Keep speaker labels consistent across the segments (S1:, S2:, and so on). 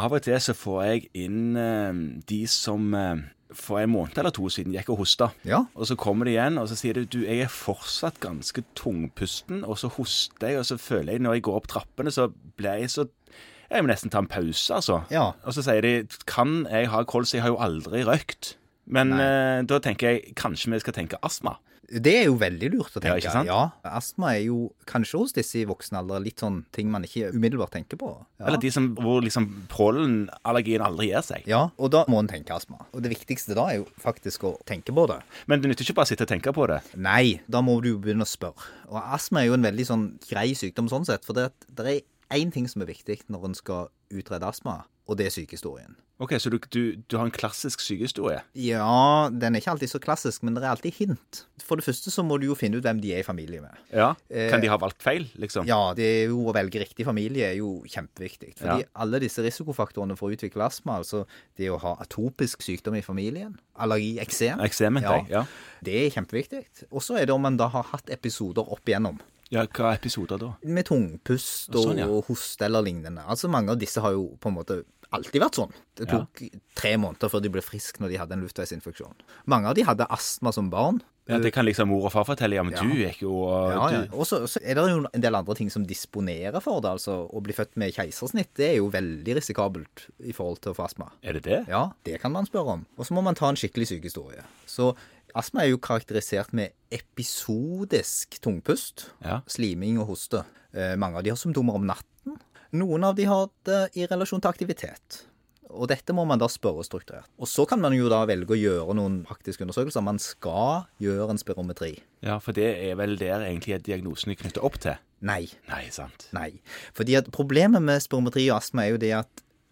S1: Av og til så får jeg inn eh, de som eh, for en måned eller to siden gikk og hosta.
S2: Ja.
S1: Og så kommer de igjen og så sier de, du, jeg er fortsatt ganske tungpusten, og så hoster jeg, og så føler jeg når jeg går opp trappene, så blir jeg så Jeg må nesten ta en pause, altså.
S2: Ja.
S1: Og så sier de kan jeg ha kols? Jeg har jo aldri røykt. Men eh, da tenker jeg kanskje vi skal tenke astma.
S2: Det er jo veldig lurt å tenke.
S1: Ja, ikke sant?
S2: Ja, Astma er jo kanskje hos disse i voksen alder litt sånn ting man ikke umiddelbart tenker på. Ja.
S1: Eller de som, hvor liksom pollenallergien aldri gir seg.
S2: ja, og da må en tenke astma. Og det viktigste da er jo faktisk å tenke på det.
S1: Men det nytter ikke bare å sitte og tenke på det.
S2: Nei, da må du jo begynne å spørre. Og astma er jo en veldig sånn grei sykdom sånn sett, for det, at det er én ting som er viktig når en skal utrede astma, og det er sykehistorien.
S1: Ok, Så du, du, du har en klassisk sykehistorie?
S2: Ja, den er ikke alltid så klassisk, men det er alltid hint. For det første så må du jo finne ut hvem de er i familie med.
S1: Ja. Kan de ha valgt feil, liksom?
S2: Ja, det er jo å velge riktig familie er jo kjempeviktig. Fordi alle disse risikofaktorene for å utvikle astma, altså det å ha atopisk sykdom i familien, allergi, eksem
S1: Eksem, mente jeg, ja.
S2: Det er kjempeviktig. Og så er det om man da har hatt episoder opp igjennom.
S1: Ja, hva episoder da?
S2: Med tungpust og
S1: Sånn, ja.
S2: hoste eller lignende. Altså Mange av disse har jo på en måte alltid vært sånn. Det tok tre måneder før de ble friske når de hadde en luftveisinfeksjon. Mange av de hadde astma som barn.
S1: Ja, det kan liksom mor og far fortelle. Ja, men du gikk jo og
S2: Ja, ja.
S1: du.
S2: Og så så er det jo en del andre ting som disponerer for det. altså Å bli født med keisersnitt det er jo veldig risikabelt i forhold til å få astma.
S1: Er det det?
S2: Ja, det kan man spørre om. Og så må man ta en skikkelig sykehistorie. Så astma er jo karakterisert med episodisk tungpust,
S1: Ja.
S2: sliming og hoste. Eh, mange av de har symptomer om natten. Noen av de har det i relasjon til aktivitet. Og dette må man da spørre strukturert. Og så kan man jo da velge å gjøre noen praktiske undersøkelser. Man skal gjøre en spirometri.
S1: Ja, for det er vel der egentlig diagnosen er knyttet opp til.
S2: Nei,
S1: Nei, sant.
S2: Nei. Fordi at problemet med spirometri og astma er jo det at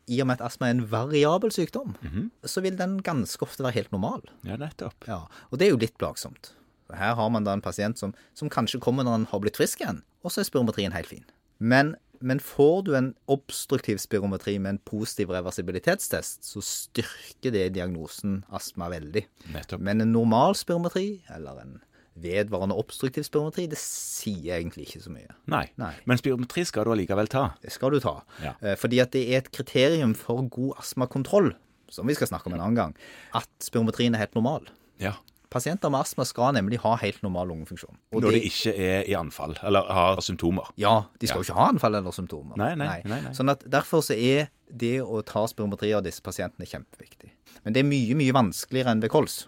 S2: i og med at astma er en variabel sykdom, så vil den ganske ofte være helt normal.
S1: Ja, nettopp.
S2: Ja, Og det er jo litt plagsomt. Så Her har man da en pasient som, som kanskje kommer når han har blitt frisk igjen, og så er spirometrien helt fin. Men, men får du en obstruktiv spirometri med en positiv reversibilitetstest, så styrker det diagnosen astma veldig.
S1: Nettopp.
S2: Men en normal spirometri, eller en vedvarende obstruktiv spirometri, det sier egentlig ikke så mye.
S1: Nei.
S2: Nei.
S1: Men spirometri skal du allikevel ta.
S2: Det skal du ta.
S1: Ja.
S2: Eh, Fordi at det er et kriterium for god astmakontroll, som vi skal snakke om en annen gang, at spirometrien er helt normal.
S1: Ja.
S2: Pasienter med astma skal nemlig ha helt normal lungefunksjon. Og
S1: Når
S2: det-
S1: det ikke er i anfall, eller har symptomer.
S2: ja, de skal jo ikke ha anfall eller symptomer.
S1: Nei, nei, nei, nei.
S2: Sånn at Derfor så er det å ta spirometri av disse pasientene kjempeviktig. Men det er mye, mye vanskeligere enn ved kols.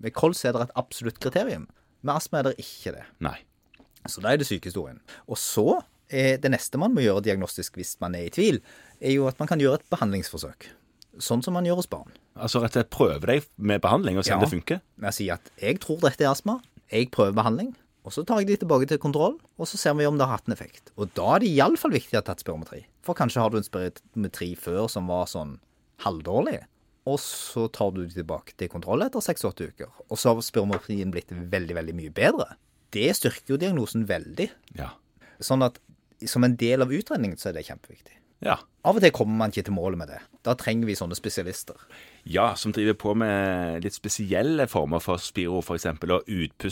S2: Ved kols er det et absolutt kriterium. Med astma er det ikke det.
S1: Nei.
S2: Så da er det sykehistorien. Og så er det neste man må gjøre diagnostisk hvis man er i tvil, er jo at man kan gjøre et behandlingsforsøk. Sånn som man gjør hos barn.
S1: Altså rett og slett prøve deg med behandling og se om
S2: Ja.
S1: det funker.
S2: Med å si at jeg tror dette er astma, jeg prøver behandling, og så tar jeg de tilbake til kontroll, og så ser vi om det har hatt en effekt. Og da er det iallfall viktig å ha tatt spirometri. For kanskje har du en spirometri før som var sånn halvdårlig, og så tar du de tilbake til kontroll etter seks-åtte uker. Og så har spirometrien blitt veldig, veldig mye bedre. Det styrker jo diagnosen veldig.
S1: Ja.
S2: Sånn at som en del av utredningen så er det kjempeviktig.
S1: Ja.
S2: Av og til kommer man ikke til målet med det. Da trenger vi sånne spesialister.
S1: Ja, som driver på med litt spesielle former for spiro, f.eks., og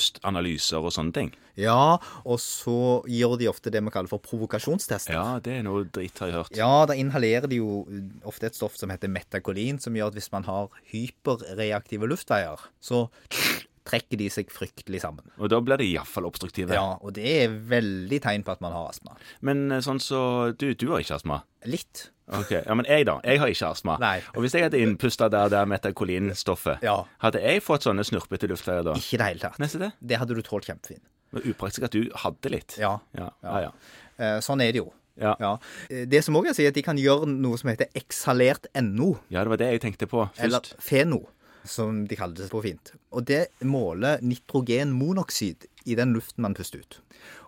S1: utpustanalyser og sånne ting.
S2: Ja, og så gjør de ofte det vi kaller for provokasjonstester.
S1: Ja, det er noe dritt, har jeg hørt.
S2: Ja, da inhalerer de jo ofte et stoff som heter metakolin, som gjør at hvis man har hyperreaktive luftveier, så trekker de seg fryktelig sammen.
S1: Og da blir de iallfall obstruktive.
S2: Ja, og det er veldig tegn på at man har astma.
S1: Men eh, sånn så Du, du har ikke astma.
S2: Litt.
S1: Ok, ja, Men jeg, da. Jeg har ikke astma.
S2: Nei.
S1: Og hvis jeg hadde innpusta der der metakolinstoffet,
S2: Ja.
S1: hadde jeg fått sånne snurpete luftveier da?
S2: Ikke i det hele tatt.
S1: Neste det?
S2: Det hadde du tålt kjempefint.
S1: Men Upraktisk at du hadde litt.
S2: Ja.
S1: Ja, ja. ja.
S2: Eh, Sånn er det jo.
S1: Ja.
S2: Ja. Eh, Det som òg er å si, at de kan gjøre noe som heter eksalert NO,
S1: ja, det var det jeg tenkte på først.
S2: eller FENO, som de kaller det på fint. Og det måler nitrogenmonoksid i den luften man puster ut.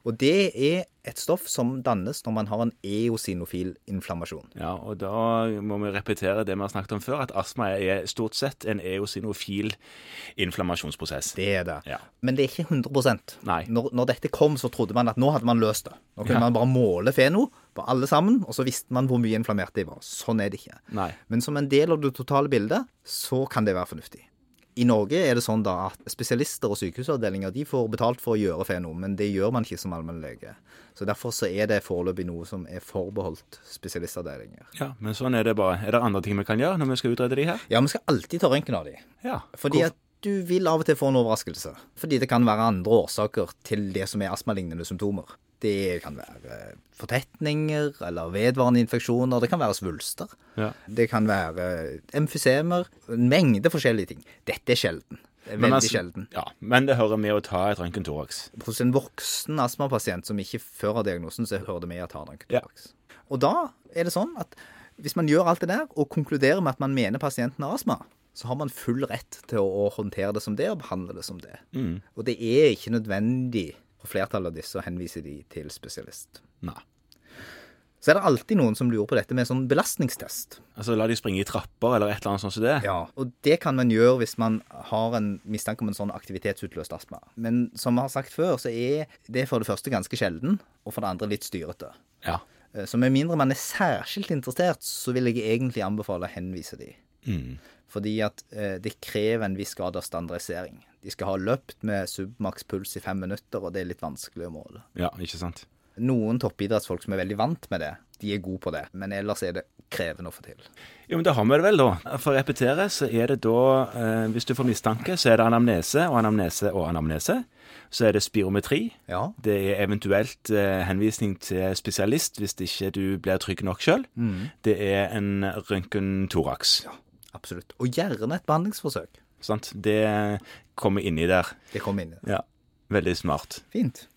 S2: Og det er et stoff som dannes når man har en eosinofil inflammasjon.
S1: Ja, og da må vi repetere det vi har snakket om før, at astma er stort sett en eosinofil inflammasjonsprosess.
S2: Det er det.
S1: Ja.
S2: Men det er ikke 100
S1: Nei.
S2: Når, når dette kom, så trodde man at nå hadde man løst det. Nå kunne
S1: Ja.
S2: man bare måle FENO på alle sammen, og så visste man hvor mye inflammerte de var. Sånn er det ikke.
S1: Nei.
S2: Men som en del av det totale bildet, så kan det være fornuftig. I Norge er det sånn da at spesialister og sykehusavdelinger de får betalt for å gjøre fenome, men det gjør man ikke som allmennlege. Så derfor så er det foreløpig noe som er forbeholdt spesialistavdelinger.
S1: Ja, men sånn er det bare. Er det andre ting vi kan gjøre når vi skal utrede de her?
S2: Ja, vi skal alltid ta røntgen av de.
S1: Ja.
S2: Fordi
S1: Hvor-
S2: at du vil av og til få en overraskelse. Fordi det kan være andre årsaker til det som er astmalignende symptomer. Det kan være eh, fortetninger eller vedvarende infeksjoner. Det kan være svulster.
S1: Ja.
S2: Det kan være eh, emfysemer. En mengde forskjellige ting. Dette er sjelden. Det er
S1: Men
S2: veldig
S1: altså-
S2: sjelden.
S1: Ja, men det hører med å ta et røntgentoraks.
S2: Hos en voksen astmapasient som ikke før har diagnosen, så hører det med at har røntgentoraks. Og da er det sånn at hvis man gjør alt det der, og konkluderer med at man mener pasienten har astma, så har man full rett til å håndtere det som det, og behandle det som det. Og det er ikke nødvendig for flertallet av disse å henvise de til spesialist.
S1: Nei.
S2: Så er det alltid noen som lurer på dette med sånn belastningstest.
S1: Altså, la de springe i trapper eller et eller annet sånt som det.
S2: Ja, og det kan man gjøre hvis man har en mistanke om en sånn aktivitetsutløst astma. Men som vi har sagt før, så er det for det første ganske sjelden, og for det andre litt styrete.
S1: Ja.
S2: Eh, Så med mindre man er særskilt interessert, så vil jeg egentlig anbefale å henvise de.
S1: Mm.
S2: Fordi at eh, det krever en viss grad av standardisering. De skal ha løpt med submakspuls i fem minutter, og det er litt vanskelig å måle.
S1: ja, ikke sant?
S2: Noen toppidrettsfolk som er veldig vant med det, de er gode på det. Men ellers er det krevende å få til.
S1: Jo, men Da har vi det vel, da. For å repetere, så er det da eh, Hvis du får mistanke, så er det anamnese og anamnese og anamnese. Så er det spirometri.
S2: Ja.
S1: Det er eventuelt eh, henvisning til spesialist hvis ikke du blir trygg nok sjøl.
S2: Mm.
S1: Det er en røntgentoraks.
S2: Absolutt. Og gjerne et behandlingsforsøk.
S1: Sant? Det kommer inni der.
S2: Det kom inn.
S1: Ja. Veldig smart.
S2: Fint.